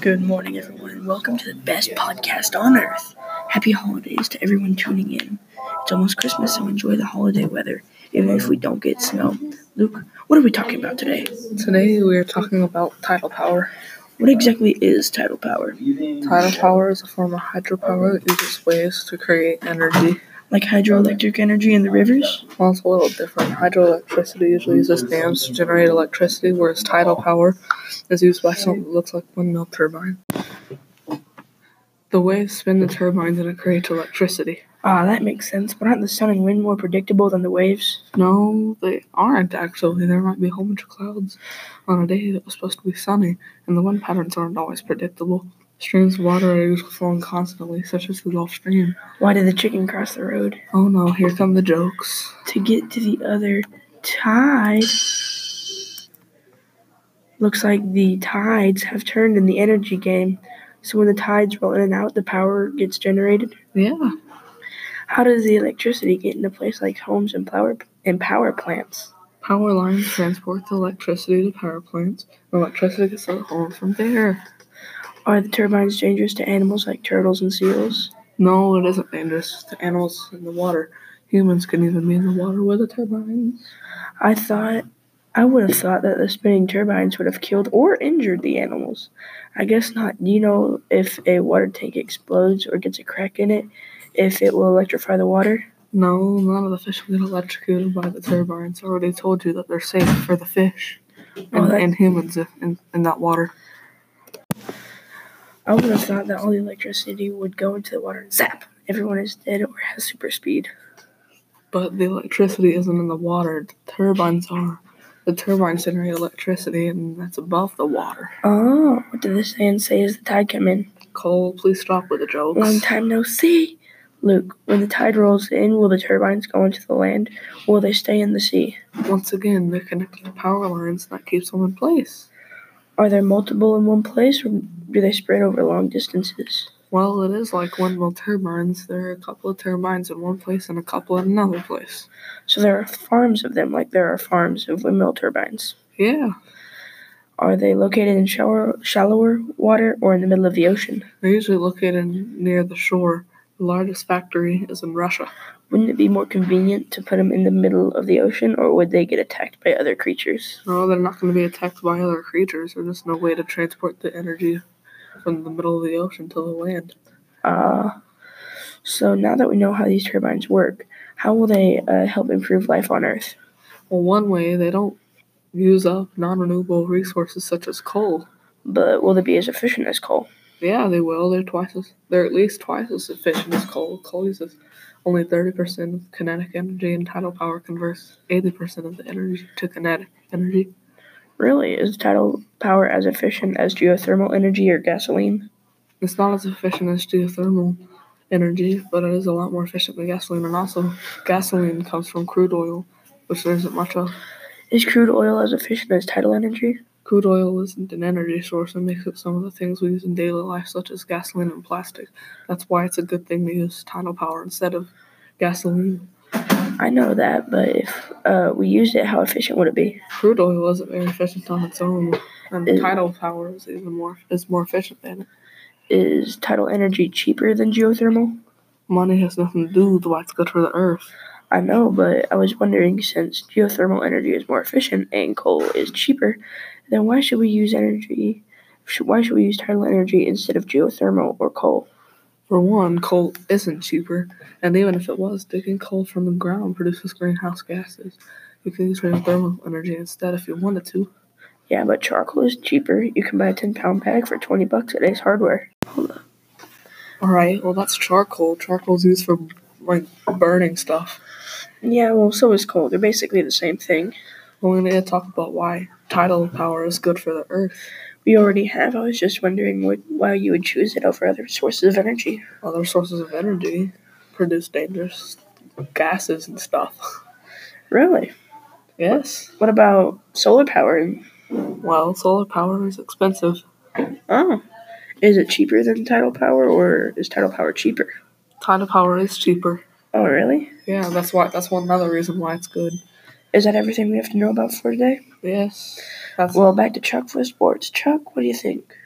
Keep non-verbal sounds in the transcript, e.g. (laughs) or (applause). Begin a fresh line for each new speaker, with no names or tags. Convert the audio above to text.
Good morning, everyone, and welcome to the best podcast on earth. Happy holidays to everyone tuning in. It's almost Christmas, so enjoy the holiday weather, even if we don't get snow. Luke, what are we talking about today?
Today we are talking about tidal power.
What exactly is tidal power?
Tidal power is a form of hydropower that uses waves to create energy.
Like hydroelectric energy in the rivers?
Well, it's a little different. Hydroelectricity usually uses dams to generate electricity, whereas tidal power is used by something that looks like windmill turbine. The waves spin the turbines and it creates electricity.
Ah, that makes sense, but aren't the sun and wind more predictable than the waves?
No, they aren't actually. There might be a whole bunch of clouds on a day that was supposed to be sunny, and the wind patterns aren't always predictable. Streams of water are usually flowing constantly, such as the Gulf Stream.
Why did the chicken cross the road?
Oh no, here come the jokes.
To get to the other tide. Looks like the tides have turned in the energy game. So when the tides roll in and out, the power gets generated.
Yeah.
How does the electricity get into place like homes and power and power plants?
Power lines transport the electricity to power plants, and electricity gets sent home from there.
Are the turbines dangerous to animals like turtles and seals?
No, it isn't dangerous to animals in the water. Humans can even be in the water with the turbines.
I thought I would have thought that the spinning turbines would have killed or injured the animals. I guess not. Do you know if a water tank explodes or gets a crack in it, if it will electrify the water?
No, none of the fish will get electrocuted by the turbines. I already told you that they're safe for the fish
Oh,
and,
that-
and humans in, in, in that water.
I would have thought that all the electricity would go into the water and zap. Everyone is dead or has super speed.
But the electricity isn't in the water, the turbines are. The turbines generate electricity, and that's above the water.
Oh, what did the saying say as the tide come in?
Cole, please stop with the jokes.
Long time no see. Luke, when the tide rolls in, will the turbines go into the land or will they stay in the sea?
Once again, they're connected to power lines, and that keeps them in place.
Are there multiple in one place or do they spread over long distances?
Well, it is like windmill turbines. There are a couple of turbines in one place and a couple in another place.
So there are farms of them, like there are farms of windmill turbines.
Yeah,
Are they located in shallower, shallower water or in the middle of the ocean?
they're usually located near the shore. The largest factory is in Russia.
Wouldn't it be more convenient to put them in the middle of the ocean or would they get attacked by other creatures?
No, they're not going to be attacked by other creatures. There's just no way to transport the energy from the middle of the ocean to the land.
Uh, so now that we know how these turbines work, how will they uh, help improve life on Earth?
Well, one way, they don't use up non renewable resources such as coal.
But will they be as efficient as coal?
Yeah, they will. They're twice as they're at least twice as efficient as coal. Coal uses only thirty percent of kinetic energy, and tidal power converts eighty percent of the energy to kinetic energy.
Really, is tidal power as efficient as geothermal energy or gasoline?
It's not as efficient as geothermal energy, but it is a lot more efficient than gasoline. And also, gasoline comes from crude oil, which there isn't much of.
Is crude oil as efficient as tidal energy?
Crude oil isn't an energy source and makes up some of the things we use in daily life, such as gasoline and plastic. That's why it's a good thing to use tidal power instead of gasoline.
I know that, but if uh, we used it, how efficient would it be?
crude oil isn't very efficient on its own, and
It-
tidal power is even more is more efficient than it.
Is tidal energy cheaper than geothermal?
Money has nothing to do with why it's good for the earth.
I know, but I was wondering since geothermal energy is more efficient and coal is cheaper, then why should we use energy? sh- Why should we use tidal energy instead of geothermal or coal?
For one, coal isn't cheaper, and even if it was, digging coal from the ground produces greenhouse gases. You can use geothermal energy instead if you wanted to.
Yeah, but charcoal is cheaper. You can buy a 10 pound bag for 20 bucks at Ace Hardware.
All right, well that's charcoal. Charcoal's used for like burning stuff.
Yeah, well, so is coal. They're basically the same thing.
Well, we need to talk about why tidal power is good for the earth.
We already have. I was just wondering what, why you would choose it over other sources of energy.
Other sources of energy produce dangerous gases and stuff. (laughs)
Really?
Yes.
What about solar power? and-
Well, solar power is expensive.
Oh, is it cheaper than tidal power, or is tidal power cheaper?
Tidal power is cheaper.
Oh, really?
Yeah, that's why. That's one another reason why it's good.
Is that everything we have to know about for today?
Yes. That's
Well, back to Chuck for sports. Chuck, what do you think?